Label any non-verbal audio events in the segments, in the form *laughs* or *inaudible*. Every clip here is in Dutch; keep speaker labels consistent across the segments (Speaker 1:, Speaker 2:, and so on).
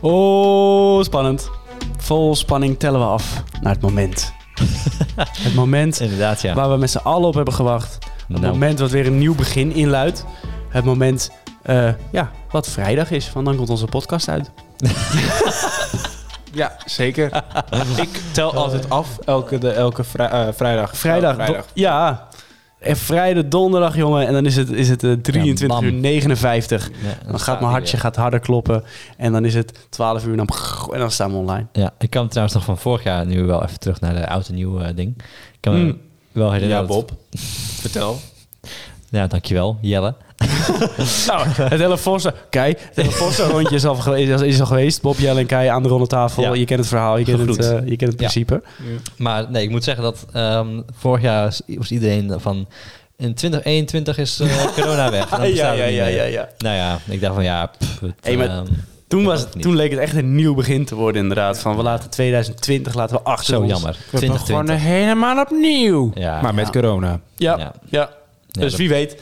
Speaker 1: Oh, spannend. Vol spanning tellen we af naar het
Speaker 2: *laughs*
Speaker 1: moment. het moment
Speaker 2: Inderdaad, ja.
Speaker 1: waar we met z'n allen op hebben gewacht. Het
Speaker 2: Nou,
Speaker 1: moment wat weer een nieuw begin inluidt. Het moment eh, ja, wat vrijdag is, want dan komt onze podcast uit.
Speaker 3: Ja, zeker. *laughs* ik tel altijd af elke, de, elke vrij- eh, vrijdag.
Speaker 1: Vrijdag.
Speaker 3: Oh,
Speaker 1: do- ja. En vrijdag, donderdag, jongen. En dan is het, is het eh, 23
Speaker 2: bam.
Speaker 1: uur 59.
Speaker 2: ja, dan
Speaker 1: Dan
Speaker 2: staat
Speaker 1: gaat mijn
Speaker 2: hij
Speaker 1: hartje
Speaker 2: weer.
Speaker 1: gaat harder kloppen. En dan is het 12 uur en dan, en dan staan we online.
Speaker 2: Ja, ik kan trouwens nog van vorig jaar, nu wel even terug naar de oud en nieuw eh, ding. Ik kan me
Speaker 1: Hmm.
Speaker 2: wel herinneren.
Speaker 3: Ja,
Speaker 2: dat-
Speaker 3: Bob. Vertel.
Speaker 2: Ja, dankjewel, Jelle.
Speaker 1: Nou, het hele Forza... Kei, het hele Forza rondje is al, ge- is, is al geweest. Bob, Jelle en Kei aan de ronde tafel.
Speaker 2: Ja.
Speaker 1: Je kent het verhaal, je kent het,
Speaker 2: Gegroet.
Speaker 1: eh, je kent het
Speaker 2: Ja.
Speaker 1: principe.
Speaker 2: Maar nee, ik moet zeggen dat ehm, vorig jaar was- was iedereen van... In 2021 is eh, corona weg. Dan bestaan we niet meer. Nou ja, ik dacht van ja... Pff, het,
Speaker 1: Hey, maar
Speaker 2: ehm,
Speaker 1: Toen,
Speaker 2: dat
Speaker 1: was,
Speaker 2: was het niet.
Speaker 1: toen leek het echt een nieuw begin te worden inderdaad. Van we laten 2020 laten we achter
Speaker 2: zo
Speaker 1: ons.
Speaker 2: jammer.
Speaker 3: We begonnen
Speaker 2: 2020.
Speaker 3: helemaal opnieuw.
Speaker 2: Ja.
Speaker 3: Maar met
Speaker 2: Ja.
Speaker 3: corona.
Speaker 1: Ja,
Speaker 2: Ja.
Speaker 1: ja.
Speaker 2: Ja,
Speaker 1: dus
Speaker 2: dat-
Speaker 1: wie weet,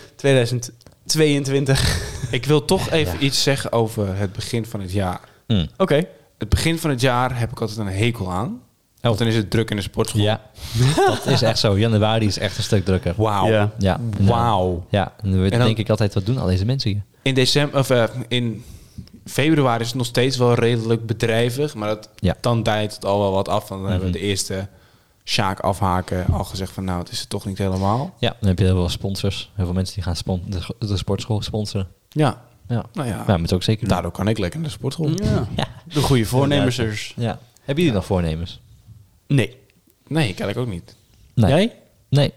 Speaker 1: 2022.
Speaker 3: Ik wil toch even iets zeggen over het begin van het jaar.
Speaker 2: Mm.
Speaker 1: *laughs* Oké.
Speaker 3: Het begin van het jaar heb ik altijd een hekel aan. Want dan is het druk in de sportschool.
Speaker 2: Oh.
Speaker 3: *laughs*
Speaker 2: Ja, dat is echt zo. Januari is echt een stuk drukker.
Speaker 3: Wauw.
Speaker 1: Ja.
Speaker 2: Ja, nou,
Speaker 3: Wauw.
Speaker 2: Ja, en dan
Speaker 3: En dan-
Speaker 2: denk ik altijd, wat doen al deze mensen hier?
Speaker 3: In december of eh, in februari is het nog steeds wel redelijk bedrijvig, maar dat,
Speaker 2: Ja.
Speaker 3: dan dijt het al wel wat af. Dan hebben we
Speaker 1: Mhm.
Speaker 3: de eerste Sjaak afhaken al gezegd van nou, het is het toch niet helemaal.
Speaker 2: Ja, dan heb je heel veel sponsors. Heel veel mensen die gaan spon- de, scho- de sportschool sponsoren.
Speaker 3: Ja.
Speaker 2: Ja,
Speaker 3: Nou ja.
Speaker 2: ja moet ook zeker doen.
Speaker 3: Daardoor kan ik lekker naar de sportschool.
Speaker 1: Ja.
Speaker 2: Ja.
Speaker 1: De goede voornemens dus.
Speaker 2: Ja. Hebben jullie nog voornemens?
Speaker 1: Nee.
Speaker 3: Nee, kijk ik ook niet.
Speaker 2: Nee.
Speaker 1: Jij?
Speaker 2: Nee.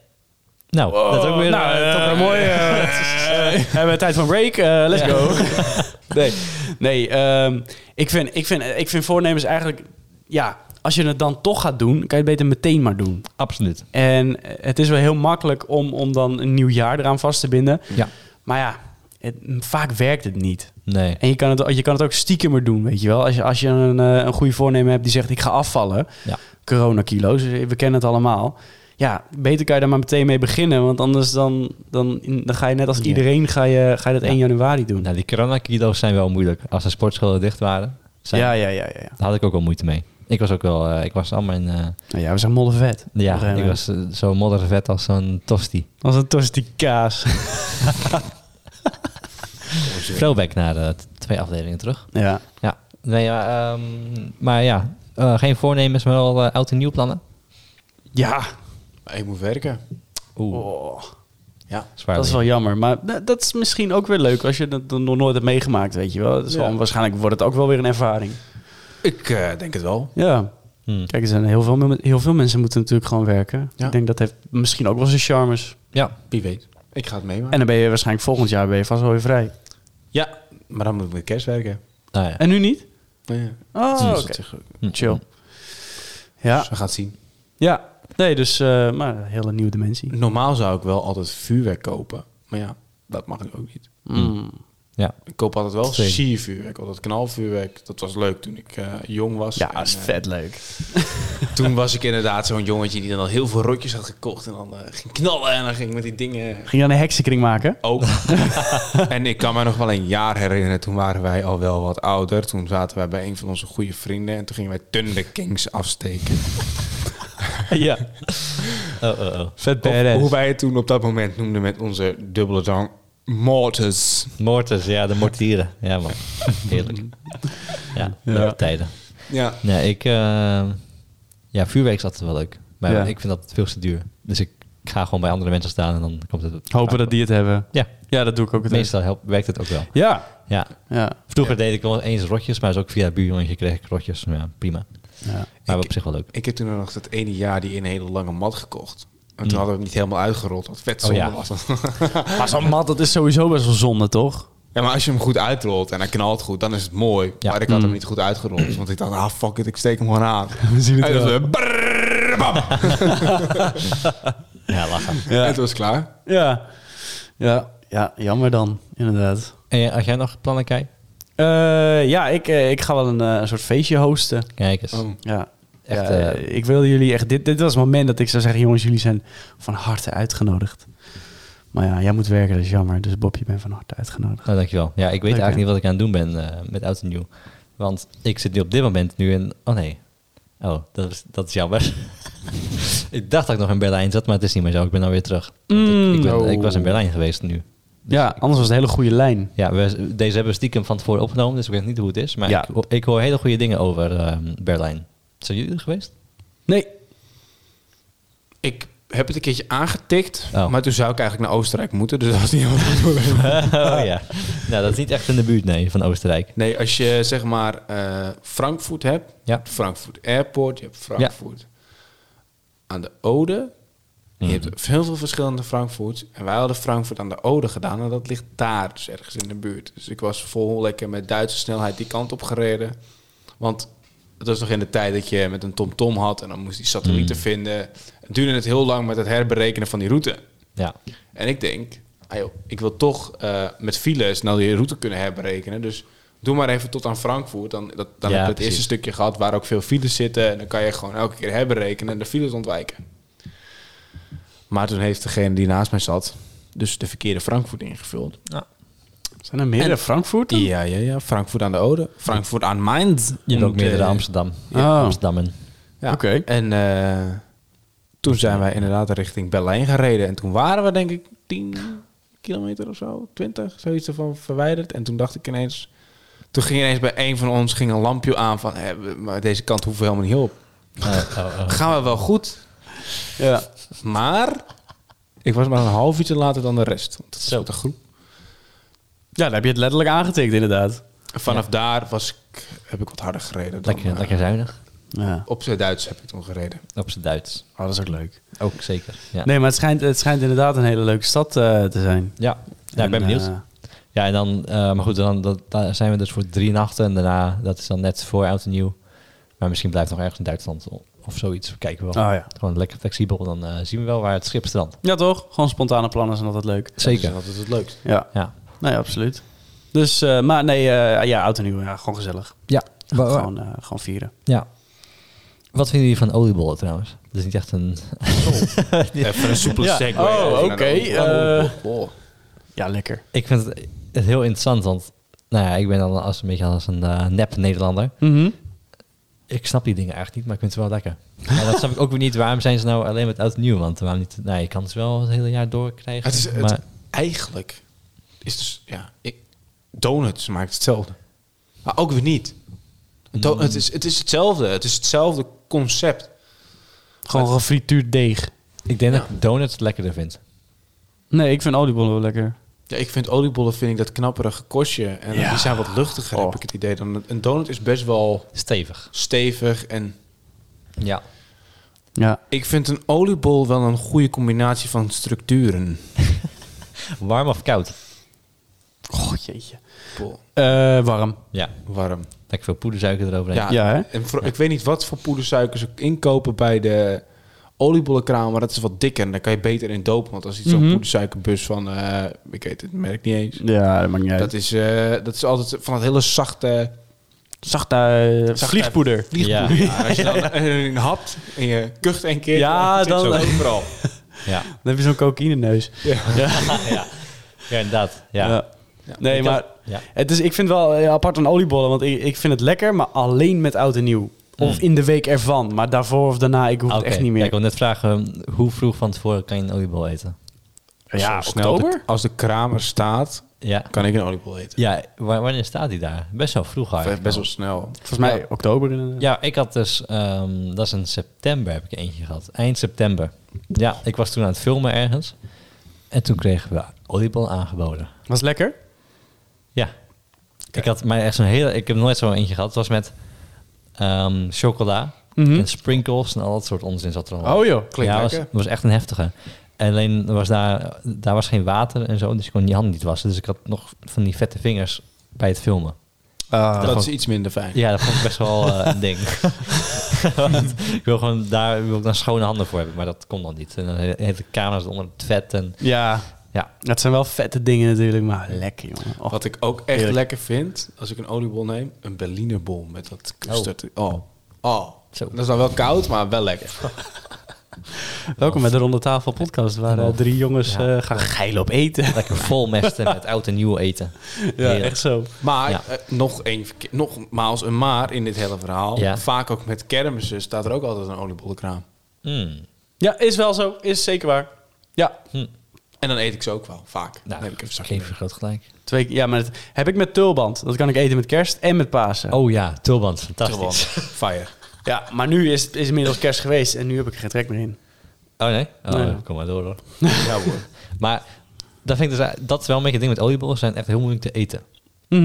Speaker 2: Nou, dat is ook weer...
Speaker 1: nou,
Speaker 2: eh,
Speaker 1: eh,
Speaker 2: toch
Speaker 1: toch
Speaker 2: weer
Speaker 1: een
Speaker 2: mooi.
Speaker 1: mooie... eh, eh, *laughs* hebben we tijd voor een break? Eh, let's go.
Speaker 2: *laughs*
Speaker 1: nee, nee ehm, ik, vind, ik, vind, ik vind voornemens eigenlijk... Ja, als je het dan toch gaat doen, kan je het beter meteen maar doen.
Speaker 2: Absoluut.
Speaker 1: En het is wel heel makkelijk om, om dan een nieuw jaar eraan vast te binden.
Speaker 2: Ja.
Speaker 1: Maar ja, het- vaak werkt het niet.
Speaker 2: Nee.
Speaker 1: En je kan het, je kan het ook stiekemer doen, weet je wel. Als je, als je een, eh, een goede voornemen hebt die zegt ik ga afvallen.
Speaker 2: Ja.
Speaker 1: Coronakilo's, dus we kennen het allemaal. Ja, beter kan je daar maar meteen mee beginnen. Want anders dan, dan, dan ga je net als
Speaker 2: Ja.
Speaker 1: iedereen ga je, ga je dat
Speaker 2: Ja.
Speaker 1: 1 januari doen.
Speaker 2: Nou, die coronakilo's zijn wel moeilijk. Als de sportscholen dicht waren, zijn,
Speaker 1: Ja, ja, ja, ja. ja.
Speaker 2: daar had ik ook wel moeite mee. Ik was ook wel... eh, ik was allemaal in... eh,
Speaker 1: Nou ja, we zijn moddervet. Op een
Speaker 2: ja,
Speaker 1: gegeven
Speaker 2: ik
Speaker 1: moment.
Speaker 2: was eh, zo moddervet als zo'n tosti.
Speaker 1: Als een tosti
Speaker 2: *laughs*
Speaker 1: kaas.
Speaker 2: Throwback naar de t- twee afdelingen terug.
Speaker 1: ja.
Speaker 2: Ja, nee, maar, ehm, maar ja, eh, geen voornemens, maar wel eh, oud en nieuw plannen.
Speaker 1: Ja,
Speaker 3: Ik moet werken.
Speaker 2: Oeh,
Speaker 1: Oh,
Speaker 3: Ja.
Speaker 2: zwaar.
Speaker 1: dat is
Speaker 2: weer.
Speaker 1: wel jammer. Maar da- dat is misschien ook weer leuk als je dat nog nooit hebt meegemaakt, weet je wel. Dat is
Speaker 3: Ja.
Speaker 1: wel- waarschijnlijk wordt het ook wel weer een ervaring.
Speaker 3: Ik eh, denk het wel.
Speaker 1: Ja.
Speaker 2: Hmm.
Speaker 1: Kijk, er zijn heel veel, men- heel veel mensen moeten natuurlijk gewoon werken.
Speaker 3: Ja.
Speaker 1: Ik denk dat heeft misschien ook wel zijn charmes.
Speaker 2: Ja,
Speaker 3: Wie weet. Ik ga het meemaken.
Speaker 1: En dan ben je waarschijnlijk volgend jaar ben je vast wel weer vrij.
Speaker 3: ja, maar dan moet ik met kerst werken.
Speaker 2: nou ja. Hmm.
Speaker 1: En nu niet?
Speaker 3: Ja.
Speaker 1: Oh,
Speaker 3: Dus
Speaker 1: oké.
Speaker 3: dat is goed.
Speaker 1: Chill. Ja.
Speaker 3: Dus we gaan het zien.
Speaker 1: ja. Nee, dus eh, maar een hele nieuwe dimensie.
Speaker 3: Normaal zou ik wel altijd vuurwerk kopen. Maar ja, dat mag nu ook niet.
Speaker 1: Mm.
Speaker 2: ja.
Speaker 3: Ik koop altijd wel
Speaker 2: Zeker.
Speaker 3: siervuurwerk, altijd knalvuurwerk. Dat was leuk toen ik eh, jong was.
Speaker 1: Ja, dat is
Speaker 3: En, eh,
Speaker 1: vet leuk.
Speaker 3: *laughs* toen was ik inderdaad zo'n jongetje die dan al heel veel rotjes had gekocht. En dan eh, ging knallen en dan ging ik met die dingen
Speaker 1: Ging je dan een heksenkring maken? *laughs*
Speaker 3: ook. en ik kan me nog wel een jaar herinneren. Toen waren wij al wel wat ouder. Toen zaten wij bij een van onze goede vrienden. En toen gingen wij Thunder Kings afsteken.
Speaker 1: ja.
Speaker 2: Oh, oh, oh.
Speaker 1: Vet
Speaker 3: Of
Speaker 1: badass.
Speaker 3: hoe wij het toen op dat moment noemden met onze dubbele tong. Mortars.
Speaker 2: Mortis, ja, de mortieren. Ja, man. *laughs* Heerlijk. Ja, leuke tijden.
Speaker 3: Ja.
Speaker 2: Nee, ik... eh, ja, vuurwerk is altijd wel leuk. Maar
Speaker 1: Ja.
Speaker 2: ik vind dat veel te duur. Dus ik ga gewoon bij andere mensen staan en dan komt het...
Speaker 1: Hopen dat die het hebben.
Speaker 2: Ja,
Speaker 1: Ja, dat doe ik ook het meest.
Speaker 2: meestal helpt, werkt het ook wel.
Speaker 1: Ja.
Speaker 2: Ja.
Speaker 1: Ja.
Speaker 2: Vroeger deed ik wel eens rotjes, maar is ook via het buurjongetje kreeg ik rotjes. Ja, prima.
Speaker 1: ja.
Speaker 2: Maar op zich wel leuk.
Speaker 3: Ik heb toen nog dat ene jaar die een hele lange mat gekocht. En toen hadden we hem niet helemaal uitgerold, wat vet zonde
Speaker 2: Mm. Oh ja.
Speaker 3: was.
Speaker 1: *laughs*
Speaker 3: *laughs*
Speaker 1: Maar zo'n mat, dat is sowieso best wel zonde, toch?
Speaker 3: ja, maar als je hem goed uitrolt en hij knalt goed, dan is het mooi.
Speaker 2: Ja. Mm.
Speaker 3: Maar ik had hem niet goed uitgerold, want ik dacht, ah fuck it, ik steek hem gewoon
Speaker 2: *laughs*
Speaker 3: aan.
Speaker 1: *laughs* We zien
Speaker 3: En dat was, eh, brrrr, bam.
Speaker 2: Ja, lachen.
Speaker 3: En het was klaar.
Speaker 1: Ja. Ja. Ja, jammer dan, inderdaad.
Speaker 2: En jij- had jij nog plannen, Kai?
Speaker 1: Eh, ja, ik, eh, ik ga wel een, eh, een soort feestje hosten.
Speaker 2: Kijk eens.
Speaker 3: Oh.
Speaker 1: Ja.
Speaker 2: Echt,
Speaker 1: Echt,
Speaker 2: eh,
Speaker 1: ik wilde jullie echt... Dit, dit was het moment dat ik zou zeggen... jongens, jullie zijn van harte uitgenodigd. Maar ja, jij moet werken, dat is jammer. Dus Bob, je bent van harte uitgenodigd.
Speaker 2: Nou, dankjewel. Ja, ik weet
Speaker 1: Leuk,
Speaker 2: eigenlijk
Speaker 1: hè?
Speaker 2: niet wat ik aan het doen ben eh, met oud en nieuw. Want ik zit nu op dit moment nu in... Oh nee. Oh, dat is, dat is jammer. *laughs* ik dacht dat ik nog in Berlijn zat, maar het is niet meer zo. Ik ben alweer terug. Want ik, ik, ben-
Speaker 1: Mm.
Speaker 2: ik was in Berlijn geweest nu.
Speaker 1: ja, anders was het een hele goede lijn.
Speaker 2: Ja, we, deze hebben we stiekem van tevoren opgenomen, dus ik weet niet hoe het is. Maar
Speaker 1: Ja.
Speaker 2: ik, ho- ik hoor hele goede dingen over ehm, Berlijn. Zijn jullie er geweest? *laughs*
Speaker 1: Nee.
Speaker 3: Ik heb het een keertje aangetikt,
Speaker 2: Oh.
Speaker 3: maar toen zou ik eigenlijk naar Oostenrijk moeten. Dus dat was niet helemaal goed.
Speaker 2: oh ja. Nou, dat is niet echt in de buurt, nee, van Oostenrijk.
Speaker 3: Nee, als je zeg maar eh, Frankfurt hebt,
Speaker 2: Ja.
Speaker 3: Frankfurt Airport, je hebt Frankfurt aan de Ode. En Je hebt heel veel verschillende Frankfurts. En wij hadden Frankfurt aan de Ode gedaan. En dat ligt daar, dus ergens in de buurt. Dus ik was vol lekker met Duitse snelheid die kant op gereden. Want het was nog in de tijd dat je met een TomTom had. En dan moest die satellieten vinden. Het duurde het heel lang met het herberekenen van die route.
Speaker 2: Ja.
Speaker 3: En ik denk, ah joh, ik wil toch eh, met files nou die route kunnen herberekenen. Dus doe maar even tot aan Frankfurt. Dan, dat, dan
Speaker 2: Ja,
Speaker 3: heb je het
Speaker 2: precies.
Speaker 3: eerste stukje gehad waar ook veel files zitten. En dan kan je gewoon elke keer herberekenen en de files ontwijken. Maar toen heeft degene die naast mij zat, dus de verkeerde Frankfurt ingevuld.
Speaker 1: Zijn er meerdere Frankfurt?
Speaker 3: Ja, ja, ja. Frankfurt aan de Ode. Frankfurt aan Mainz.
Speaker 2: Je hebt ook meerdere
Speaker 3: eh,
Speaker 2: Amsterdam.
Speaker 1: Ja. Oh.
Speaker 2: Amsterdammen.
Speaker 3: Ja.
Speaker 1: Oké.
Speaker 3: En eh, toen zijn wij inderdaad richting Berlijn gereden. En toen waren we denk ik 10 kilometer of zo, 20, zoiets ervan verwijderd. En toen dacht ik ineens, toen ging ineens bij een van ons ging een lampje aan van, "Hé, we- maar deze kant hoeven we helemaal niet op.
Speaker 2: Oh, oh, oh.
Speaker 3: Gaan we wel goed,
Speaker 1: Ja.
Speaker 3: maar ik was maar een half uurtje later dan de rest. Want dat is
Speaker 2: Zo.
Speaker 3: met een groep.
Speaker 1: ja, daar heb je het letterlijk aangetikt inderdaad.
Speaker 3: En vanaf daar was ik, heb ik wat harder gereden. Dan,
Speaker 2: Lekker,
Speaker 3: eh,
Speaker 2: lekker zuinig.
Speaker 1: Ja.
Speaker 3: Op zijn Duits heb ik toen gereden.
Speaker 2: Op zijn Duits.
Speaker 1: Oh, dat is ook leuk.
Speaker 2: Ook zeker. Ja.
Speaker 1: Nee, maar het schijnt, het schijnt inderdaad een hele leuke stad eh, te zijn.
Speaker 2: Ja. ja, ik ben
Speaker 1: En,
Speaker 2: benieuwd.
Speaker 1: eh,
Speaker 2: Ja, en dan, eh, maar goed, dan, dat, daar zijn we dus voor drie nachten. En daarna, dat is dan net voor oud en nieuw. Maar misschien blijft nog ergens in Duitsland o- of zoiets. We kijken wel.
Speaker 1: Oh ja.
Speaker 2: Gewoon lekker flexibel. Dan eh, zien we wel waar het schip strandt.
Speaker 1: Ja, toch? Gewoon spontane plannen zijn altijd leuk.
Speaker 2: Zeker.
Speaker 3: Dat is altijd het *laughs* leukst.
Speaker 1: Nou Ja.
Speaker 2: Ja.
Speaker 1: Nee, absoluut. Dus, eh, maar nee, eh, ja, oud en nieuw, ja, gewoon gezellig.
Speaker 2: Ja.
Speaker 1: Gewoon, eh, gewoon vieren.
Speaker 2: ja. Wat vinden jullie van oliebollen trouwens? Dat is niet echt een... *laughs*
Speaker 3: Even een soepele
Speaker 1: Ja.
Speaker 3: segue.
Speaker 1: Oh,
Speaker 3: Even naar de
Speaker 1: oké,
Speaker 3: olie- Oh.
Speaker 1: Ja, lekker.
Speaker 2: Ik vind het, het heel interessant, want nou ja, ik ben dan als een beetje als een eh, nep Nederlander.
Speaker 1: Mhm.
Speaker 2: Ik snap die dingen eigenlijk niet, maar ik vind ze wel lekker. Maar dat snap ik ook weer niet. Waarom zijn ze nou alleen met oud en nieuw? Want waarom niet? Nou, je kan ze wel het hele jaar door krijgen.
Speaker 3: Het is, het,
Speaker 2: maar
Speaker 3: Eigenlijk is dus, ja, ik, donuts maakt hetzelfde. Maar ook weer niet. Do- het, is, het is hetzelfde. Het is hetzelfde concept.
Speaker 1: Gewoon gefrituurd deeg.
Speaker 2: ik denk dat
Speaker 3: Ja.
Speaker 2: ik donuts het lekkerder vind.
Speaker 1: Nee, ik vind oliebollen wel lekker.
Speaker 3: Ja, ik vind oliebollen vind ik dat knapperige kostje. En
Speaker 1: Ja.
Speaker 3: die zijn wat luchtiger,
Speaker 1: Oh.
Speaker 3: heb ik het idee. Dan een- een donut is best wel
Speaker 2: Stevig.
Speaker 3: stevig. En
Speaker 2: Ja.
Speaker 1: Ja.
Speaker 3: ik vind een oliebol wel een goede combinatie van structuren.
Speaker 2: Warm of koud?
Speaker 1: Oh, jeetje.
Speaker 3: Bol.
Speaker 1: Eh, warm.
Speaker 2: Ja.
Speaker 3: Warm.
Speaker 2: Lekker veel poedersuiker eroverheen.
Speaker 3: Ja,
Speaker 1: Ja, hè?
Speaker 3: En voor- ik weet niet wat voor poedersuiker ze inkopen bij de oliebollenkraam, maar dat is wat dikker en daar kan je beter in dopen. Want als iets zo'n
Speaker 1: Mhm.
Speaker 3: poedersuikerbus van, eh, ik weet het merk niet eens.
Speaker 1: Ja, dat maakt niet uit.
Speaker 3: Dat is, eh, dat is altijd van het hele zachte
Speaker 1: Zachte, eh,
Speaker 3: Zachte-
Speaker 1: vliegpoeder.
Speaker 3: vliegpoeder. Ja, als je dan een hapt en je kucht een keer,
Speaker 1: Ja,
Speaker 3: zit
Speaker 1: dan-
Speaker 3: zo overal.
Speaker 2: Ja.
Speaker 1: Dan
Speaker 3: *laughs*
Speaker 1: heb je zo'n cocaïneneus.
Speaker 2: *laughs* Ja, inderdaad. Ja.
Speaker 1: Ja. Nee,
Speaker 2: Ik
Speaker 1: maar
Speaker 2: ja.
Speaker 1: het is, ik vind wel eh, apart aan oliebollen, want ik, ik vind het lekker, maar alleen met oud en nieuw. Of in de week ervan, maar daarvoor of daarna, ik hoef
Speaker 2: Oké.
Speaker 1: het echt niet
Speaker 2: Ja,
Speaker 1: meer.
Speaker 2: ik wil net vragen, ehm, hoe vroeg van tevoren kan je een oliebol eten?
Speaker 1: Ja,
Speaker 3: Zo snel
Speaker 1: oktober?
Speaker 3: de- Nou, als de kraam er staat,
Speaker 2: Ja.
Speaker 3: kan ik een oliebol eten.
Speaker 2: Ja, wa- wanneer staat hij daar? Best wel vroeg
Speaker 3: Of, eh,
Speaker 2: eigenlijk.
Speaker 3: Best wel snel.
Speaker 1: Volgens mij oktober. eh.
Speaker 2: Ja, ik had dus, ehm, dat is in september heb ik eentje gehad. Eind september. Ja, ik was toen aan het filmen ergens. En toen kregen we oliebol aangeboden.
Speaker 1: Was het lekker?
Speaker 2: Ja. Ik had mij echt zo'n hele, ik heb nooit zo'n eentje gehad. Het was met ehm, chocola
Speaker 1: Mhm.
Speaker 2: en sprinkles en al dat soort onzin zat er allemaal.
Speaker 1: Oh joh.
Speaker 3: Klinkt
Speaker 2: ja, was,
Speaker 3: lekker.
Speaker 2: was echt een heftige. En alleen er was daar, daar was geen water en zo, dus ik kon je handen niet wassen. Dus ik had nog van die vette vingers bij het filmen.
Speaker 1: Ah,
Speaker 3: dat
Speaker 2: vond-
Speaker 3: is iets minder fijn.
Speaker 2: Ja, dat vond ik best wel eh, een
Speaker 3: *laughs*
Speaker 2: ding. Want ik wil gewoon daar wil ik dan schone handen voor hebben, maar dat kon dan niet. En dan he- heeft de camera's onder het vet en
Speaker 1: Ja.
Speaker 2: ja,
Speaker 1: Dat zijn wel vette dingen natuurlijk, maar lekker jongen. Och.
Speaker 3: Wat ik ook echt
Speaker 1: Heerlijk.
Speaker 3: lekker vind, als ik een oliebol neem, een Berlinerbol met dat custard. Oh. Oh.
Speaker 2: Zo. *laughs*
Speaker 3: Dat is dan wel koud, maar wel lekker.
Speaker 1: Welkom bij de Ronde Tafel podcast, waar eh, drie jongens
Speaker 2: Ja.
Speaker 1: eh, gaan geil op *laughs* eten.
Speaker 2: Lekker vol mesten met oud en nieuw eten.
Speaker 1: Ja,
Speaker 2: Heerlijk.
Speaker 1: echt zo.
Speaker 3: Maar
Speaker 2: Ja.
Speaker 3: eh, nog een, verke- nogmaals een maar in dit hele verhaal.
Speaker 2: Ja.
Speaker 3: Vaak ook met kermissen staat er ook altijd een oliebollenkraam.
Speaker 2: Mm.
Speaker 1: Ja, is wel zo. Is zeker waar. Ja,
Speaker 2: Hm.
Speaker 3: En dan eet ik ze ook wel, vaak.
Speaker 2: Nou,
Speaker 3: Dan heb ik even
Speaker 2: *laughs*
Speaker 3: zakje
Speaker 2: geef je groot gelijk.
Speaker 1: twee, ja maar dat heb ik met tulband. Dat kan ik eten met kerst en met Pasen.
Speaker 2: Oh ja, tulband,
Speaker 3: mee.
Speaker 2: fantastisch.
Speaker 3: Gewoon fire.
Speaker 1: Ja, maar nu is, is inmiddels kerst geweest en nu heb ik er geen trek meer in.
Speaker 2: Oh nee? Oh,
Speaker 1: Nee.
Speaker 2: Kom maar door hoor.
Speaker 3: ja hoor.
Speaker 2: Maar dat, vind ik dus, dat is wel een beetje het ding met oliebollen. zijn echt heel moeilijk te eten.
Speaker 1: Mhm.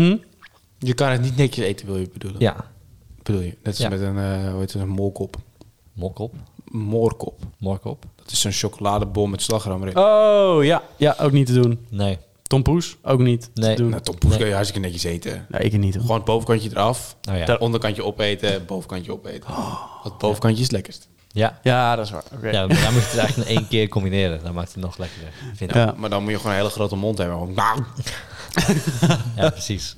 Speaker 3: Je kan het niet netjes eten, wil je bedoelen?
Speaker 2: Ja.
Speaker 3: Bedoel je? Net als
Speaker 2: Ja.
Speaker 3: met een, eh hoe heet het, een molkop.
Speaker 2: Mokkop,
Speaker 3: Moorkop.
Speaker 2: morkop.
Speaker 3: Dat is zo'n chocoladebol met slagroom erin.
Speaker 1: Oh ja, ja, ook niet te doen.
Speaker 2: Nee.
Speaker 1: Tompoes, ook niet
Speaker 2: Nee.
Speaker 1: te doen.
Speaker 3: Nou, tompoes
Speaker 2: Nee.
Speaker 3: kun je hartstikke netjes eten.
Speaker 1: Nee, ik niet. Hoor.
Speaker 3: Gewoon het bovenkantje eraf,
Speaker 2: Oh ja.
Speaker 3: het onderkantje opeten, bovenkantje opeten.
Speaker 1: Oh.
Speaker 3: Het bovenkantje is het lekkerst.
Speaker 2: Ja.
Speaker 1: Ja, dat is waar. Oké.
Speaker 2: Ja, maar daar moet je het eigenlijk in één keer combineren. Dat maakt het nog lekkerder, vind ik. Ja,
Speaker 1: Ja.
Speaker 3: Maar dan moet je gewoon een hele grote mond hebben. Gewoon, nou,
Speaker 1: *laughs*
Speaker 2: precies.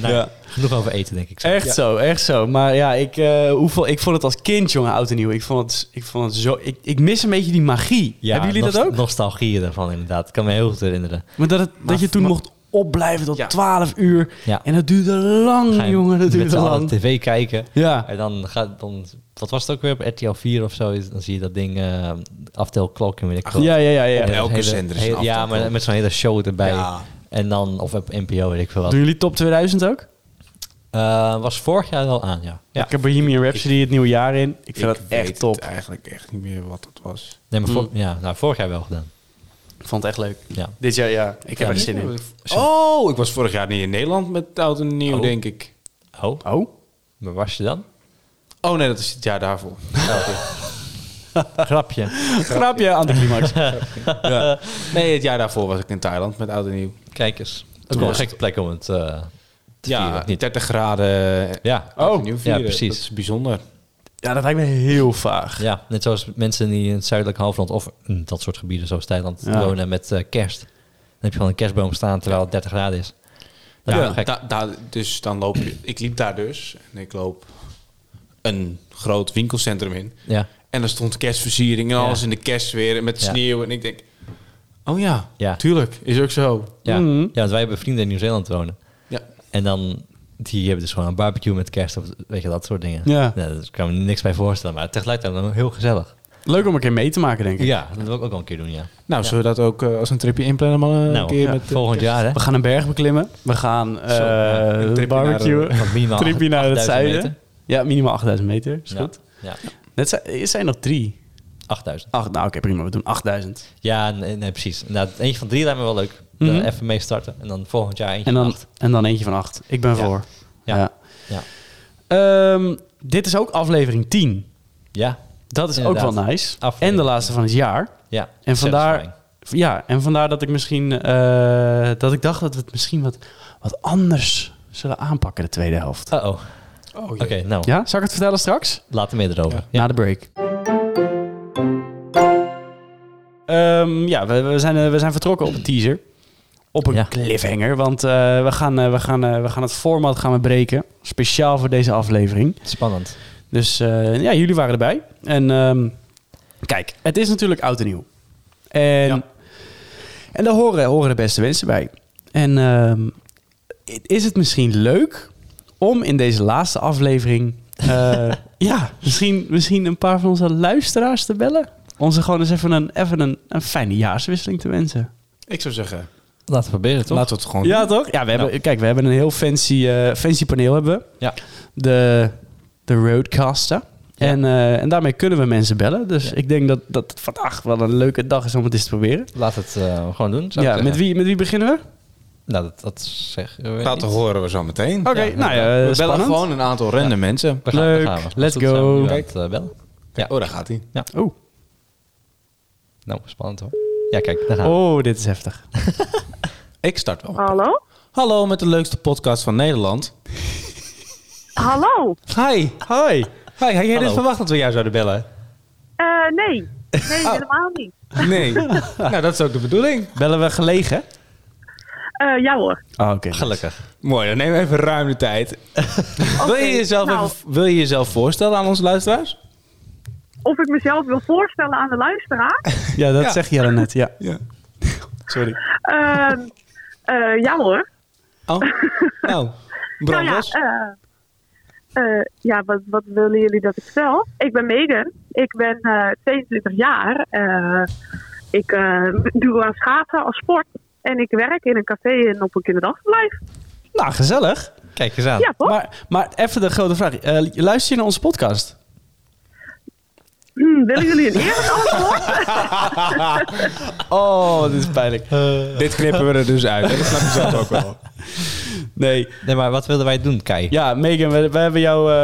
Speaker 2: Nou,
Speaker 1: Ja.
Speaker 2: genoeg over eten, denk ik. zo.
Speaker 1: Echt zo, echt zo. Maar ja, ik, eh, hoeveel, ik vond het als kind, jongen, oud en nieuw. Ik vond het, ik vond het zo... Ik, ik mis een beetje die magie.
Speaker 2: Ja,
Speaker 1: Hebben jullie dat
Speaker 2: nost-
Speaker 1: ook?
Speaker 2: Nostalgie daarvan, inderdaad. Ik kan me heel goed herinneren.
Speaker 1: Maar dat, het, dat je toen
Speaker 3: maar-
Speaker 1: mocht opblijven tot
Speaker 3: Ja.
Speaker 1: 12 uur.
Speaker 2: Ja.
Speaker 1: En dat duurde lang,
Speaker 2: Ga je
Speaker 1: Mm, jongen. Dat
Speaker 2: met
Speaker 1: duurde
Speaker 2: z'n allen
Speaker 1: lang.
Speaker 2: tv kijken.
Speaker 1: Ja.
Speaker 2: En dan gaat dan... Wat was het ook weer? Op RTL 4 of zo. is- Dan zie je dat ding eh, aftelklok en weet ik wat.
Speaker 1: Ja, ja, ja. ja.
Speaker 2: En dat
Speaker 3: elke
Speaker 2: hele-
Speaker 3: zender is een
Speaker 2: heel- Ja,
Speaker 3: aftelklok.
Speaker 2: maar met zo'n hele show erbij.
Speaker 3: Ja.
Speaker 2: En dan... Of op NPO, weet ik veel wat.
Speaker 1: Doen jullie top 2000 ook?
Speaker 2: Eh, was vorig jaar wel aan, ja.
Speaker 1: Ik heb Bohemian Rhapsody het nieuwe jaar in. Ik vind dat
Speaker 3: weet
Speaker 1: echt top.
Speaker 3: Het eigenlijk echt niet meer wat het was.
Speaker 2: Nee, maar
Speaker 1: Mm.
Speaker 2: voor- ja, nou, vorig jaar wel gedaan.
Speaker 1: Ik vond het echt leuk.
Speaker 2: Ja.
Speaker 1: Dit jaar, ja. Ik heb er
Speaker 2: niet
Speaker 1: zin in.
Speaker 3: Oh, ik was vorig jaar niet in Nederland met oud en nieuw,
Speaker 2: Oh.
Speaker 3: denk ik.
Speaker 2: Oh,
Speaker 1: Oh?
Speaker 2: waar was je dan?
Speaker 3: Oh nee, dat is het jaar
Speaker 2: *laughs*
Speaker 3: daarvoor.
Speaker 2: Oh, Grapje.
Speaker 1: Grapje,
Speaker 2: *laughs*
Speaker 1: anticlimax.
Speaker 3: Ja. Nee, het jaar daarvoor was ik in Thailand met oud en nieuw.
Speaker 2: Kijk eens. Dat is wel
Speaker 3: was
Speaker 2: een gekke plek om het eh, te vieren,
Speaker 3: Ja,
Speaker 2: of niet?
Speaker 3: 30 graden. eh,
Speaker 2: Ja.
Speaker 3: Oud en
Speaker 1: Oh,
Speaker 3: nieuw
Speaker 2: ja,
Speaker 3: vieren.
Speaker 2: precies.
Speaker 3: Dat is bijzonder.
Speaker 1: Ja, dat lijkt me heel vaag.
Speaker 2: ja, net zoals mensen die in het zuidelijk halfrond of in dat soort gebieden zoals Thailand
Speaker 1: Ja.
Speaker 2: wonen met eh, kerst. Dan heb je gewoon een kerstboom staan terwijl het 30 graden is. Dat is wel
Speaker 3: Ja,
Speaker 2: gek.
Speaker 3: da- daar- dus dan loop je... Ik liep daar dus en ik loop een groot winkelcentrum in.
Speaker 2: ja.
Speaker 3: En er stond kerstversiering en
Speaker 2: Ja.
Speaker 3: alles in de kerstweer en met
Speaker 2: Ja.
Speaker 3: sneeuw. En ik denk, oh ja,
Speaker 2: Ja.
Speaker 3: tuurlijk, is ook zo.
Speaker 2: Ja.
Speaker 1: Mhm.
Speaker 2: ja, want wij hebben vrienden in Nieuw-Zeeland wonen.
Speaker 3: Ja.
Speaker 2: En dan, die hebben dus gewoon een barbecue met kerst of weet je, dat soort dingen.
Speaker 1: Ja.
Speaker 2: Nou, daar kan ik me niks bij voorstellen, maar tegelijkertijd wel heel gezellig.
Speaker 1: Leuk om een keer mee te maken, denk ik.
Speaker 2: Ja, dat wil ik ook wel een keer doen, ja.
Speaker 3: Nou, zullen we dat ook eh, als een tripje inplannen? Maar een
Speaker 2: nou,
Speaker 3: keer
Speaker 2: ja,
Speaker 3: met, eh,
Speaker 2: volgend jaar, hè.
Speaker 1: We gaan een berg beklimmen. We gaan eh
Speaker 2: ja,
Speaker 3: een tripje
Speaker 1: barbecuen.
Speaker 2: *laughs*
Speaker 3: naar
Speaker 2: Van minimaal
Speaker 1: tripje naar het
Speaker 2: 8000
Speaker 1: zuiden.
Speaker 2: meter.
Speaker 1: Ja, minimaal 8000 meter. Is
Speaker 2: Ja.
Speaker 1: goed.
Speaker 2: Ja,
Speaker 1: Net zijn, er zijn nog drie.
Speaker 2: 8000.
Speaker 1: Ach, nou oké, prima. We doen 8000.
Speaker 2: Ja, nee, nee, precies. Nou, eentje van drie lijkt me wel leuk.
Speaker 1: Mhm.
Speaker 2: Eh, Even mee starten. En dan volgend jaar eentje
Speaker 1: En dan,
Speaker 2: van acht.
Speaker 1: en dan eentje van acht. Ik ben
Speaker 2: Ja.
Speaker 1: voor.
Speaker 2: Ja. Ja.
Speaker 1: Ehm, dit is ook aflevering 10.
Speaker 2: Ja.
Speaker 1: Dat is ook
Speaker 2: Inderdaad.
Speaker 1: wel nice. en
Speaker 2: Aflevering
Speaker 1: de laatste
Speaker 2: 10.
Speaker 1: van het jaar.
Speaker 2: ja.
Speaker 1: En vandaar,
Speaker 2: Satisfying.
Speaker 1: ja, en vandaar dat ik misschien eh, dat ik dacht dat we het misschien wat, wat anders zullen aanpakken de tweede helft.
Speaker 2: Uh-oh.
Speaker 3: Oh,
Speaker 2: Oké, nou.
Speaker 1: Ja, zal ik het vertellen straks?
Speaker 2: Later meer erover.
Speaker 1: Na de break. Ehm, ja, we, we, zijn, eh, we zijn vertrokken op een teaser. Op een
Speaker 2: Ja.
Speaker 1: cliffhanger, want eh, we, gaan, eh, we, gaan, eh, we gaan het format gaan we breken. Speciaal voor deze aflevering.
Speaker 2: Spannend.
Speaker 1: Dus eh, ja, jullie waren erbij. En ehm, kijk, het is natuurlijk oud en nieuw. En,
Speaker 3: Ja.
Speaker 1: en daar horen, horen de beste wensen bij. En ehm, is het misschien leuk om in deze laatste aflevering... eh, *laughs* ja, misschien, misschien een paar van onze luisteraars te bellen? Om ze gewoon eens even een, even een, een fijne jaarswisseling te wensen.
Speaker 3: Ik zou zeggen,
Speaker 2: Laten we proberen, toch?
Speaker 3: laten we het gewoon
Speaker 1: Ja, toch? Nou. Ja, we hebben, kijk, we hebben een heel fancy, eh, fancy paneel hebben we.
Speaker 2: Ja.
Speaker 1: De, de Roadcaster. En, eh, en daarmee kunnen we mensen bellen. Dus
Speaker 2: Ja.
Speaker 1: ik denk dat, dat het vandaag wel een leuke dag is om het eens te proberen.
Speaker 2: Laat het eh, gewoon doen, zou ik
Speaker 1: Ja,
Speaker 2: zeggen.
Speaker 1: met wie, met wie beginnen we?
Speaker 2: Nou, dat, dat zeg we
Speaker 3: doen. Laten
Speaker 2: niet.
Speaker 3: horen we zo meteen.
Speaker 1: Oké,
Speaker 2: Ja,
Speaker 1: nou
Speaker 2: we
Speaker 1: ja,
Speaker 3: we
Speaker 1: eh,
Speaker 3: bellen
Speaker 1: spannend.
Speaker 3: gewoon een aantal random mensen.
Speaker 2: We gaan,
Speaker 1: Leuk.
Speaker 2: we gaan. Als
Speaker 1: Let's
Speaker 2: het goed is, zijn we
Speaker 1: go.
Speaker 2: nu aan
Speaker 3: Kijk.
Speaker 2: het, eh, bellen. Ja.
Speaker 3: Oh, daar gaat hij.
Speaker 1: Oh.
Speaker 2: Nou, spannend hoor. Ja, kijk, daar gaan we.
Speaker 1: oh, dit is heftig.
Speaker 3: Ik start wel.
Speaker 4: Hallo?
Speaker 3: Hallo met de leukste podcast van Nederland.
Speaker 4: Hallo?
Speaker 3: Hi. Hi. Hi. Had jij
Speaker 2: Hallo.
Speaker 3: dit verwacht dat we jou zouden bellen?
Speaker 4: Eh, nee. Nee,
Speaker 3: Ah.
Speaker 4: helemaal niet.
Speaker 3: Nee. nou, dat is ook de bedoeling.
Speaker 1: Bellen we gelegen?
Speaker 4: Eh, ja hoor.
Speaker 1: Oh, oké.
Speaker 2: Gelukkig.
Speaker 3: Mooi, dan neem even ruim de tijd.
Speaker 4: Oké,
Speaker 3: wil, je jezelf
Speaker 4: nou,
Speaker 3: even- wil je jezelf voorstellen aan onze luisteraars?
Speaker 4: of ik mezelf wil voorstellen aan de luisteraar.
Speaker 3: *laughs*
Speaker 1: Ja, dat
Speaker 3: Ja.
Speaker 1: zeg je al net. Ja.
Speaker 3: Ja.
Speaker 1: Sorry.
Speaker 4: Eh, eh, ja hoor.
Speaker 3: Oh, nou.
Speaker 4: Nou
Speaker 3: Bram
Speaker 4: ja,
Speaker 3: Bos.
Speaker 4: eh, eh, ja wat, wat willen jullie dat ik vertel? Ik ben Megan. Ik ben eh, 22 jaar. Eh, ik eh, doe aan schaatsen als sport. En ik werk in een café en op een kinderdagverblijf.
Speaker 1: Nou, gezellig.
Speaker 2: Oh. Kijk eens aan.
Speaker 4: Ja, toch?
Speaker 1: Maar, maar even de grote vraag. Eh, luister je naar onze podcast?
Speaker 4: Hm, willen
Speaker 3: *laughs*
Speaker 4: jullie een eerlijk antwoord?
Speaker 1: Oh, dit is pijnlijk.
Speaker 3: Dit knippen we er dus uit. hè? Dat snap je zelf ook wel.
Speaker 1: *laughs* Nee.
Speaker 2: Nee, maar wat wilden wij doen, Kai?
Speaker 1: Ja, Megan, we, we hebben jou, eh,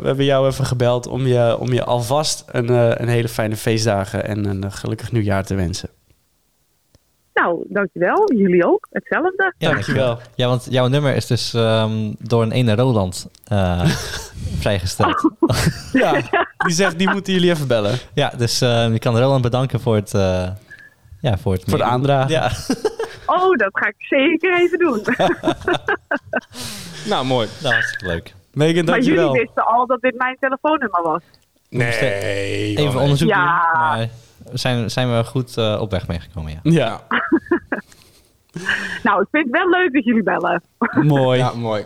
Speaker 1: we hebben jou even gebeld om je, om je alvast een, eh, een hele fijne feestdagen en een eh, gelukkig nieuwjaar te wensen.
Speaker 4: nou, dankjewel. Jullie ook. Hetzelfde.
Speaker 2: Ja,
Speaker 1: Dankjewel.
Speaker 2: Ja, want jouw nummer is dus ehm, door een ene Roland eh,
Speaker 1: *laughs*
Speaker 2: vrijgesteld.
Speaker 1: Ja, *laughs* die zegt, die moeten jullie even bellen.
Speaker 2: Ja, dus ehm, je kan Roland bedanken voor het... eh, ja, voor het...
Speaker 1: Voor de aandragen.
Speaker 2: Ja.
Speaker 4: Oh, dat ga ik zeker even
Speaker 1: *laughs*
Speaker 4: doen.
Speaker 3: Nou, mooi.
Speaker 2: Nou, hartstikke leuk.
Speaker 1: Megan,
Speaker 4: maar jullie
Speaker 1: dankjewel.
Speaker 4: wisten al dat dit mijn telefoonnummer was.
Speaker 3: Nee. joh,
Speaker 2: Even
Speaker 3: nee.
Speaker 2: onderzoek
Speaker 4: Ja.
Speaker 2: doen, maar zijn, zijn we goed eh, op weg meegekomen, ja.
Speaker 1: Ja,
Speaker 4: Nou, ik vind het wel leuk dat jullie bellen.
Speaker 1: mooi.
Speaker 3: Ja,
Speaker 1: Ja.
Speaker 3: mooi.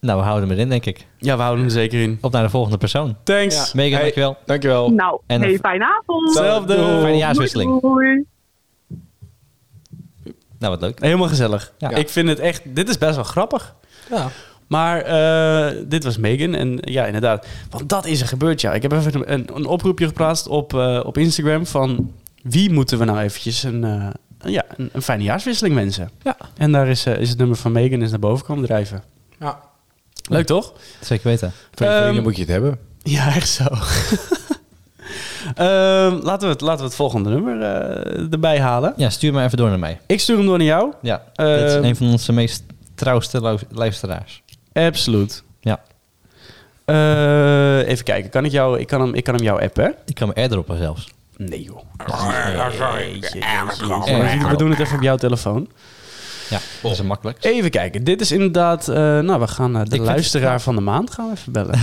Speaker 2: Nou, we houden hem erin, denk ik.
Speaker 1: we houden hem zeker in.
Speaker 2: Op naar de volgende persoon.
Speaker 1: Thanks.
Speaker 3: Ja.
Speaker 2: Megan,
Speaker 3: Hey.
Speaker 2: dankjewel.
Speaker 3: Dankjewel.
Speaker 4: Nou,
Speaker 2: En-
Speaker 4: hey, fijne avond.
Speaker 1: Hetzelfde.
Speaker 2: Fijne
Speaker 1: Doei.
Speaker 2: jaarswisseling.
Speaker 4: Doei, doei.
Speaker 2: Nou, wat leuk.
Speaker 1: Helemaal gezellig.
Speaker 2: Ja.
Speaker 1: Ik vind het echt, dit is best wel grappig.
Speaker 3: Ja.
Speaker 1: Maar eh, dit was Megan. En ja, inderdaad. Want dat is er gebeurd, ja. Ik heb even een, een oproepje geplaatst op, eh, op Instagram van... wie moeten we nou eventjes een, eh, een- ja, een, een fijne jaarswisseling wensen?
Speaker 3: Ja.
Speaker 1: En daar is, eh, is het nummer van Megan is naar boven komen drijven.
Speaker 3: Ja.
Speaker 1: Leuk, toch?
Speaker 2: Zeker weten.
Speaker 3: Van je vrienden
Speaker 1: Ehm,
Speaker 3: moet je het hebben.
Speaker 1: Ja, echt zo. *laughs* Ehm, laten, we het, laten we het volgende nummer eh, erbij halen.
Speaker 2: Ja, stuur maar even door naar mij.
Speaker 1: Ik stuur hem door naar jou.
Speaker 2: Ja,
Speaker 1: Ehm,
Speaker 2: dit is een van onze meest trouwste lu- luisteraars.
Speaker 1: Absoluut.
Speaker 2: Ja,
Speaker 1: Eh, even kijken. Kan ik, jou, ik, kan hem, ik kan hem jou appen, hè?
Speaker 2: ik kan me airdroppen zelfs.
Speaker 1: Nee, joh. Eh,
Speaker 2: Ja.
Speaker 1: We doen het even op jouw telefoon.
Speaker 2: Ja, dat is het makkelijk.
Speaker 1: Even kijken. Dit is inderdaad... eh, nou, we gaan eh, de
Speaker 2: vind
Speaker 1: luisteraar van de maand gaan we even bellen.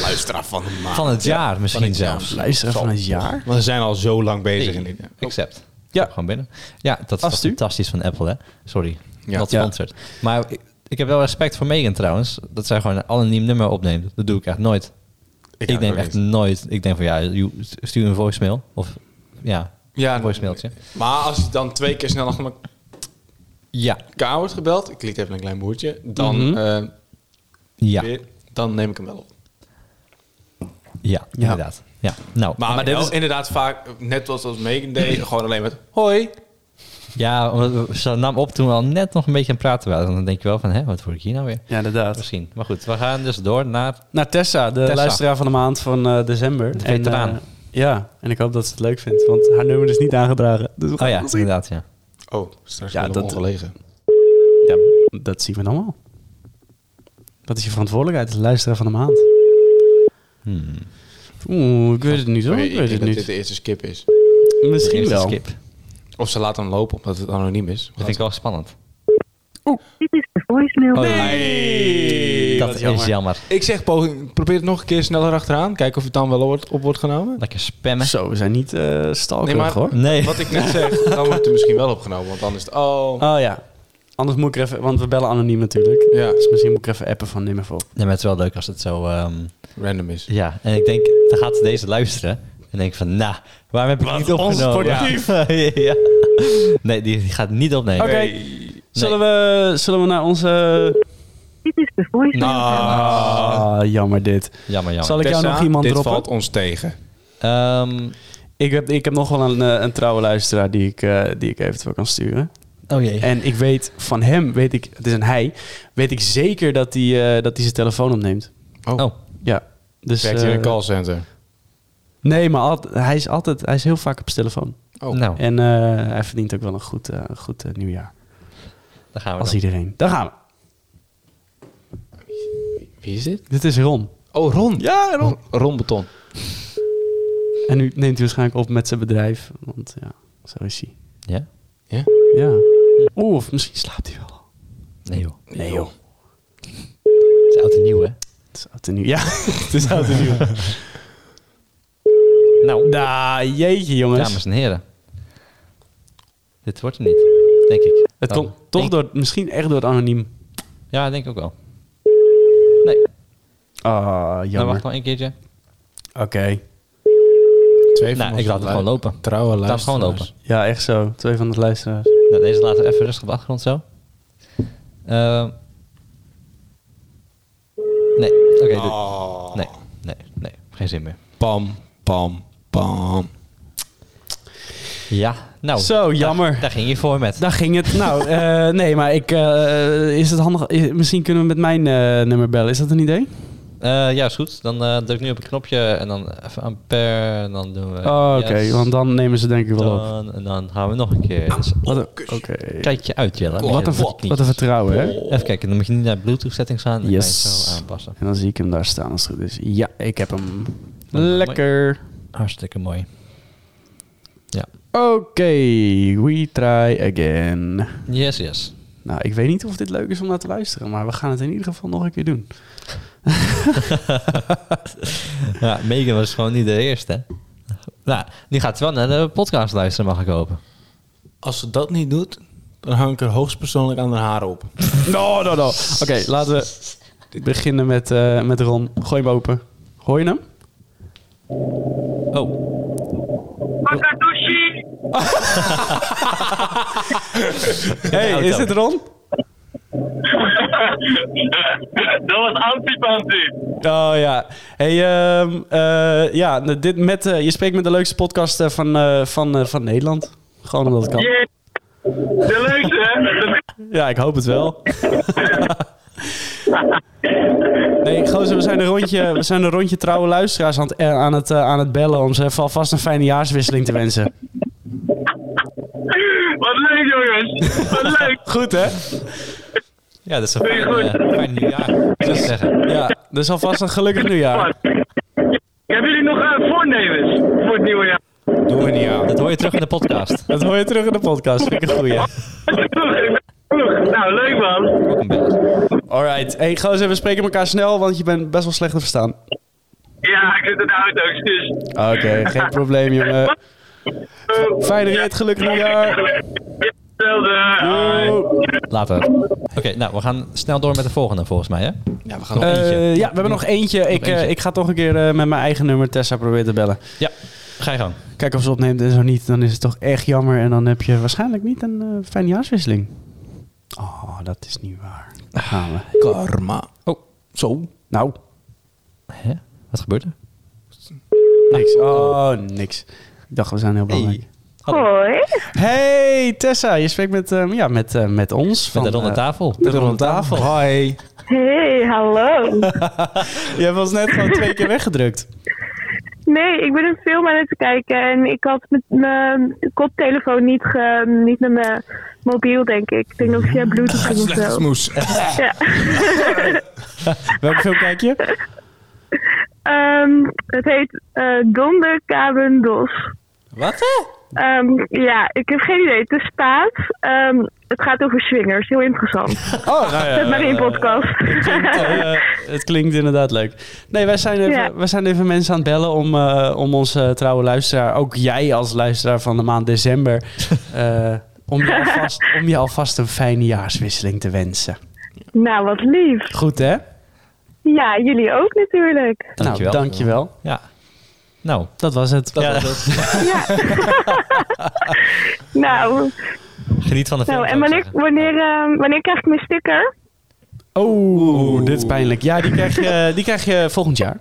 Speaker 3: Luisteraar van de maand.
Speaker 2: Van het jaar misschien
Speaker 3: van het jaar.
Speaker 2: zelfs.
Speaker 1: luisteraar
Speaker 3: Zal-
Speaker 1: van het jaar.
Speaker 3: Want we zijn al zo lang bezig.
Speaker 2: Nee,
Speaker 3: in dit-
Speaker 2: Accept.
Speaker 1: Ja.
Speaker 2: Ja. Gewoon binnen. Ja, dat is
Speaker 1: Als
Speaker 2: toch
Speaker 1: u.
Speaker 2: fantastisch van Apple, hè? Sorry.
Speaker 3: Ja.
Speaker 2: Not
Speaker 1: Ja.
Speaker 2: sponsored. Maar ik, ik heb wel respect voor Megan trouwens. Dat zij gewoon een anoniem nummer opneemt. Dat doe ik echt nooit. Ik,
Speaker 3: ook
Speaker 2: neem
Speaker 3: niet.
Speaker 2: echt nooit. Ik denk van ja, you- stuur een voicemail. Of ja,
Speaker 3: Ja,
Speaker 2: een voicemailtje.
Speaker 3: Maar als je dan twee keer snel achter
Speaker 2: Ja.
Speaker 3: elkaar wordt gebeld, ik liet even een klein boertje, dan,
Speaker 1: Mhm.
Speaker 3: eh,
Speaker 2: Ja.
Speaker 3: weer, dan neem ik hem wel op.
Speaker 2: Ja, inderdaad. Ja. Nou,
Speaker 3: Maar,
Speaker 1: dit
Speaker 3: dit
Speaker 1: is-
Speaker 3: is inderdaad vaak, net zoals als Megan deed, gewoon alleen met hoi.
Speaker 2: ja, omdat we- ze nam op toen we al net nog een beetje aan het praten waren. Dan denk je wel van, hè, wat hoor ik hier nou weer?
Speaker 1: Ja, inderdaad.
Speaker 2: Misschien. Maar goed, we gaan dus door naar...
Speaker 1: Naar Nou, Tessa, de
Speaker 2: Tessa.
Speaker 1: luisteraar van de maand van eh, december.
Speaker 2: De
Speaker 1: En,
Speaker 2: veteraan.
Speaker 1: eh, ja, en ik hoop dat ze het leuk vindt, want haar nummer is niet aangedragen. Dus we gaan
Speaker 2: Oh ja,
Speaker 1: het zien.
Speaker 2: inderdaad, ja.
Speaker 3: Oh, straks
Speaker 1: Ja,
Speaker 3: ja,
Speaker 1: dat-
Speaker 3: dat ongelegen.
Speaker 1: Ja, dat zien we dan wel. Dat is je verantwoordelijkheid, de luisteraar van de maand.
Speaker 2: Hmm.
Speaker 1: Oeh, ik weet het niet hoor.
Speaker 3: Sorry,
Speaker 1: Ik weet
Speaker 3: denk
Speaker 1: het
Speaker 3: dat dit
Speaker 1: niet.
Speaker 3: de eerste skip is.
Speaker 1: Misschien
Speaker 2: Eerste
Speaker 1: wel.
Speaker 2: Skip. Dat
Speaker 3: Of ze laat hem lopen omdat het anoniem is.
Speaker 2: vind ik wel spannend.
Speaker 4: Dit is de voicemail.
Speaker 2: Oh, ja.
Speaker 3: Nee,
Speaker 2: Dat is jammer.
Speaker 3: Ik zeg, poging, probeer het nog een keer sneller achteraan. Kijken of het dan wel wordt- op wordt genomen.
Speaker 2: Lekker spammen.
Speaker 1: Zo, we zijn niet eh stalkerig
Speaker 3: Nee, maar-
Speaker 1: hoor.
Speaker 2: Nee.
Speaker 3: Wat ik net zeg, dan wordt het misschien wel opgenomen. Want dan is het, oh,
Speaker 1: Oh ja. Anders moet ik er even, want we bellen anoniem natuurlijk.
Speaker 3: Ja.
Speaker 1: Dus misschien moet ik er even appen van neem even op.
Speaker 2: Nee, maar het is wel leuk als het zo... ehm,
Speaker 3: random is.
Speaker 2: ja, en ik denk, dan gaat deze luisteren. En denk ik van, nou, waarom heb ik het niet opgenomen? Ja. *laughs* ja. Nee, die, die gaat niet opnemen.
Speaker 1: Oké. Zullen, we, zullen we naar onze...
Speaker 4: Dit is de voicemail.
Speaker 1: Nou. Ah, jammer dit.
Speaker 2: Jammer, jammer.
Speaker 1: Zal ik jou nog iemand
Speaker 3: dit
Speaker 1: droppen?
Speaker 3: valt ons tegen.
Speaker 2: Ehm,
Speaker 1: Ik heb, ik heb nog wel een, eh, een trouwe luisteraar die ik, eh, die ik eventueel kan sturen.
Speaker 2: oh jee.
Speaker 1: En ik weet van hem, weet ik, het is een hij, weet ik zeker dat hij, eh, dat hij zijn telefoon opneemt.
Speaker 2: oh,
Speaker 1: Ja. Dus,
Speaker 3: Werkt hij in
Speaker 1: eh,
Speaker 3: een callcenter?
Speaker 1: Nee, maar alt- hij is altijd, hij is heel vaak op zijn telefoon.
Speaker 3: Oh.
Speaker 2: nou,
Speaker 1: En eh, hij verdient ook wel een goed, eh, een goed eh, nieuwjaar.
Speaker 2: daar gaan we
Speaker 1: Als
Speaker 2: dan.
Speaker 1: iedereen. Daar gaan we.
Speaker 3: Wie is dit?
Speaker 1: Dit is Ron.
Speaker 3: Oh, Ron.
Speaker 1: Ja,
Speaker 3: Ron, Ron Beton.
Speaker 1: En nu neemt hij waarschijnlijk op met zijn bedrijf. Want ja, zo is hij.
Speaker 2: Ja?
Speaker 3: Ja?
Speaker 1: Ja. Oeh, of misschien slaapt hij wel.
Speaker 2: Nee joh.
Speaker 1: Nee joh.
Speaker 2: Het is oud en nieuw, hè?
Speaker 1: *laughs* Het is oud en nieuw. Ja, het is oud en nieuw.
Speaker 2: Nou,
Speaker 1: Nou, jeetje jongens.
Speaker 2: dames en heren. Dit wordt hem niet, denk ik.
Speaker 1: het
Speaker 2: Dan-
Speaker 1: komt toch
Speaker 2: ik-
Speaker 1: door, misschien echt door het anoniem.
Speaker 2: Ja, denk ik ook wel. Nee,
Speaker 1: Ah,
Speaker 2: dan
Speaker 1: jammer.
Speaker 2: wacht nog een keertje.
Speaker 1: Oké.
Speaker 3: Twee
Speaker 2: Nou, ik laat het gewoon lopen.
Speaker 3: Trouwen
Speaker 2: Laat het gewoon lopen.
Speaker 1: Ja, echt zo. Twee van de luisteraars.
Speaker 2: Nou, deze laten we even rustig op de achtergrond zo. Ehm. nee, oké. dit-
Speaker 1: Oh.
Speaker 2: Nee, nee, nee. Geen zin meer.
Speaker 3: Pam, pam, pam.
Speaker 2: Ja, nou.
Speaker 1: Zo,
Speaker 2: Daar,
Speaker 1: jammer.
Speaker 2: daar ging je voor met.
Speaker 1: Daar ging het. Nou, *laughs* eh, nee, maar ik, eh, is het handig? i- Misschien kunnen we met mijn eh, nummer bellen. Is dat een idee?
Speaker 2: Eh, ja, is goed. Dan eh, druk nu op het knopje en dan even ampère. En dan doen we...
Speaker 1: Oh, oké.
Speaker 2: yes,
Speaker 1: Want dan nemen ze denk ik wel op.
Speaker 2: dan, en dan gaan we nog een keer. Dus
Speaker 1: Wat een, oké.
Speaker 2: kijk je uit, Jelle.
Speaker 1: Wat, een,
Speaker 2: Met je
Speaker 1: ver-
Speaker 2: knie.
Speaker 1: wat een vertrouwen, hè?
Speaker 2: Even kijken, dan moet je niet naar Bluetooth settings gaan. Dan
Speaker 1: Yes.
Speaker 2: kan je het zo aanpassen.
Speaker 1: En dan zie ik hem daar staan als het goed is. Ja, ik heb hem. Lekker.
Speaker 2: Hartstikke mooi. Ja.
Speaker 1: Oké, we try again.
Speaker 2: Yes, yes.
Speaker 1: Nou, ik weet niet of dit leuk is om naar te luisteren, maar we gaan het in ieder geval nog een keer doen.
Speaker 2: *laughs* Ja, Megan was gewoon niet de eerste. hè. Nou, nu gaat ze wel naar de podcast luisteren, mag ik hopen.
Speaker 3: Als ze dat niet doet, dan hang ik er hoogstpersoonlijk aan haar haren op.
Speaker 1: No, no, no. Oké, laten we *laughs* beginnen met, eh, met Ron. Gooi hem open. Hoor je hem?
Speaker 2: Oh,
Speaker 1: Oh.
Speaker 4: Akatoshi!
Speaker 1: Hey, is het Ron?
Speaker 5: *laughs* Dat was antipantie.
Speaker 1: Oh ja. Hey, ehm, eh, ja, nou, dit met, eh, je spreekt met de leukste podcast eh, van, eh, van, eh, van Nederland. Gewoon omdat het kan.
Speaker 5: Yeah. De leukste, hè?
Speaker 4: *laughs*
Speaker 1: Ja, ik hoop het
Speaker 5: *laughs*
Speaker 1: wel. nee, gozer, we zijn een rondje, we zijn een rondje trouwe luisteraars aan het, eh, aan het, eh, aan het bellen om ze even alvast een fijne jaarswisseling te wensen.
Speaker 5: Wat leuk, jongens. Wat leuk.
Speaker 1: Goed, hè?
Speaker 2: ja, dat is een fijn, eh, fijn nieuwjaar, zou ik zeggen.
Speaker 1: Ja, dus alvast een
Speaker 5: *laughs*
Speaker 1: gelukkig nieuwjaar.
Speaker 5: Hebben jullie nog eh, voornemens voor het nieuwe jaar?
Speaker 3: Doen we niet aan.
Speaker 2: Dat hoor je terug in de podcast.
Speaker 1: Dat hoor je terug in de podcast. Vind ik een goeie.
Speaker 5: Vroeg, vroeg. Nou, leuk man.
Speaker 2: Ook een belletje.
Speaker 1: Alright. Hey, gozer, we spreken elkaar snel, want je bent best wel slecht te verstaan.
Speaker 5: Ja, ik zit in de auto's, dus...
Speaker 1: Oké, geen probleem, jongen.
Speaker 5: eh,
Speaker 1: Fijne rit, gelukkig nieuwjaar.
Speaker 5: Ja, hetzelfde. Hoi.
Speaker 1: Yo.
Speaker 2: Later. Oké, nou, we gaan snel door met de volgende volgens mij, hè?
Speaker 3: Ja, we gaan op.
Speaker 1: Eh, ja, we hebben nog eentje. ik, eh,
Speaker 2: eentje.
Speaker 1: ik ga toch een keer eh, met mijn eigen nummer Tessa proberen te bellen.
Speaker 2: Ja, ga je gang.
Speaker 1: Kijk of ze opneemt en zo niet, dan is het toch echt jammer. En dan heb je waarschijnlijk niet een eh, fijne jaarswisseling. Oh, dat is niet waar. Daar gaan we.
Speaker 3: Karma.
Speaker 2: Oh,
Speaker 3: Zo.
Speaker 1: Nou,
Speaker 2: hè? Wat gebeurt er?
Speaker 1: niks. Oh, niks. Ik dacht, we zijn heel belangrijk.
Speaker 4: Hoi.
Speaker 1: Hey, Tessa, je spreekt met, ehm, ja, met, eh, met ons.
Speaker 2: Van de ronde
Speaker 1: eh,
Speaker 2: tafel.
Speaker 1: de ronde tafel.
Speaker 3: Hoi.
Speaker 4: Hey,
Speaker 1: *laughs*
Speaker 4: hallo.
Speaker 1: Je hebt ons net gewoon twee keer weggedrukt.
Speaker 4: Nee, ik ben een film aan het kijken en ik had met mijn koptelefoon niet, ge, niet met mijn mobiel, denk ik. Ik denk dat ik via
Speaker 1: *laughs*
Speaker 4: Bluetooth ging of
Speaker 3: Slechte
Speaker 4: zo.
Speaker 3: smoes.
Speaker 4: Ja.
Speaker 1: Welke film kijk je?
Speaker 4: Ehm, het heet eh Donderkabendos.
Speaker 3: Wat hè?
Speaker 4: Ehm, ja, ik heb geen idee. Het is Spaans. Ehm, het gaat over swingers. Heel
Speaker 1: *laughs*
Speaker 4: interessant.
Speaker 1: Oh, nou ja.
Speaker 4: Zet maar in podcast. *laughs*
Speaker 1: klinkt, eh, het klinkt inderdaad leuk. Nee, wij zijn even,
Speaker 4: Ja.
Speaker 1: wij zijn even mensen aan het bellen om, eh, om onze trouwe luisteraar, ook jij als luisteraar van de maand december, eh, om, je alvast, om je alvast een fijne jaarswisseling te wensen.
Speaker 4: nou, wat lief.
Speaker 1: Goed hè?
Speaker 4: Ja, jullie ook natuurlijk.
Speaker 2: Dankjewel.
Speaker 1: Nou, dankjewel.
Speaker 2: Ja. Nou,
Speaker 1: Dat was het.
Speaker 2: ja,
Speaker 4: Nou,
Speaker 2: *laughs* geniet van de film.
Speaker 4: nou en
Speaker 2: zou ik
Speaker 4: wanneer,
Speaker 2: zeggen.
Speaker 4: wanneer, ehm, wanneer krijg ik mijn sticker?
Speaker 1: Oh, dit is pijnlijk. Ja, die krijg *laughs* je, die krijg je volgend jaar.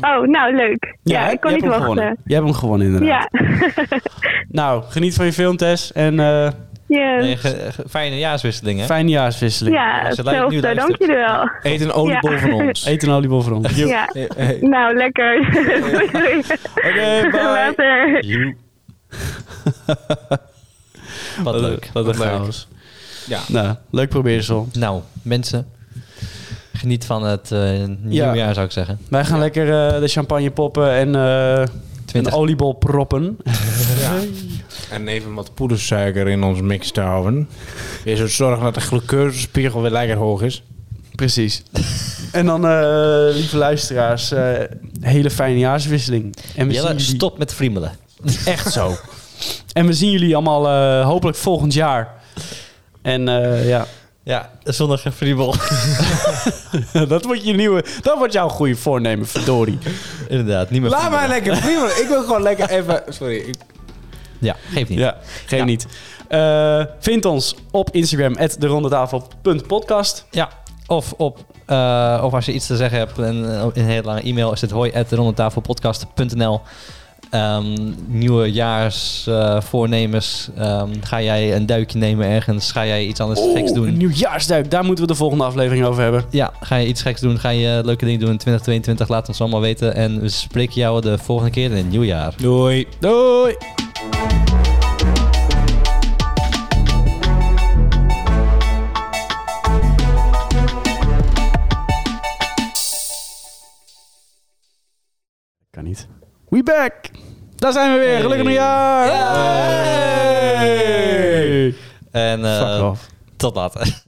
Speaker 4: Oh, nou leuk. Ja,
Speaker 1: hè?
Speaker 4: ik kon
Speaker 1: Je
Speaker 4: niet
Speaker 1: hebt hem
Speaker 4: wachten.
Speaker 1: gewonnen. Je hebt hem gewonnen inderdaad.
Speaker 4: Ja,
Speaker 1: Nou, geniet van je film Tess en eh,
Speaker 2: Nee,
Speaker 4: *laughs* yes.
Speaker 2: ge- ge- fijne jaarswisseling, hè?
Speaker 1: fijne jaarswisseling.
Speaker 4: ja,
Speaker 2: Als je luistert- nu
Speaker 4: hetzelfde. Dank
Speaker 2: luistert.
Speaker 4: jullie wel.
Speaker 3: Eet een oliebol
Speaker 4: Ja.
Speaker 3: van
Speaker 1: *laughs*
Speaker 3: ons.
Speaker 1: Eet een oliebol nou voor ons. Oké,
Speaker 4: *laughs* Ja,
Speaker 3: Eh, eh,
Speaker 4: nou lekker. Doei.
Speaker 1: bye.
Speaker 4: Later.
Speaker 2: Wat leuk.
Speaker 1: Wat een
Speaker 3: Wat leuk.
Speaker 1: chaos.
Speaker 3: Ja.
Speaker 1: Nou, leuk probeersel.
Speaker 2: Nou, mensen, geniet van het eh, nieuwjaar, zou ik zeggen.
Speaker 1: Wij gaan lekker eh, de champagne poppen en eh een
Speaker 2: Twintig.
Speaker 1: oliebol proppen. *laughs*
Speaker 3: En even wat poedersuiker in ons mix te houden. Je zult zorgen dat de glucosespiegel weer lekker hoog is.
Speaker 1: Precies. En dan, eh, lieve luisteraars, eh, hele fijne jaarswisseling. En we zien
Speaker 2: Jelle,
Speaker 1: jullie
Speaker 2: stop met friemelen.
Speaker 1: echt zo. *laughs* En we zien jullie allemaal eh, hopelijk volgend jaar. En eh, ja, *laughs*
Speaker 2: Ja, zonder gefriemel.
Speaker 1: dat wordt je nieuwe, dat wordt jouw goede voornemen, verdorie.
Speaker 2: *laughs* Inderdaad, niet meer
Speaker 3: Laat
Speaker 2: friemelen.
Speaker 3: mij lekker friemelen. Ik wil gewoon lekker even... Sorry, ik
Speaker 2: Ja, geeft niet.
Speaker 1: Ja, geen niet. Eh, vind ons op Instagram, at derondetafel.podcast.
Speaker 2: Ja, of op... eh, of als je iets te zeggen hebt en eh, een hele lange e-mail is het hoi Ehm, nieuwe jaarsvoornemens. ga jij een duikje nemen ergens? Ga jij iets anders geks
Speaker 1: Oeh,
Speaker 2: doen?
Speaker 1: een nieuwjaarsduik, daar moeten we de volgende aflevering over hebben.
Speaker 2: Ja, ga je iets geks doen? Ga je eh, leuke dingen doen in 2022? Laat ons allemaal weten. En we spreken jou de volgende keer in het nieuwjaar.
Speaker 1: Doei. Doei. Kan niet. We back. Daar zijn we weer. Gelukkig nieuwjaar. Hey.
Speaker 2: En eh,
Speaker 1: Fuck off.
Speaker 2: tot later.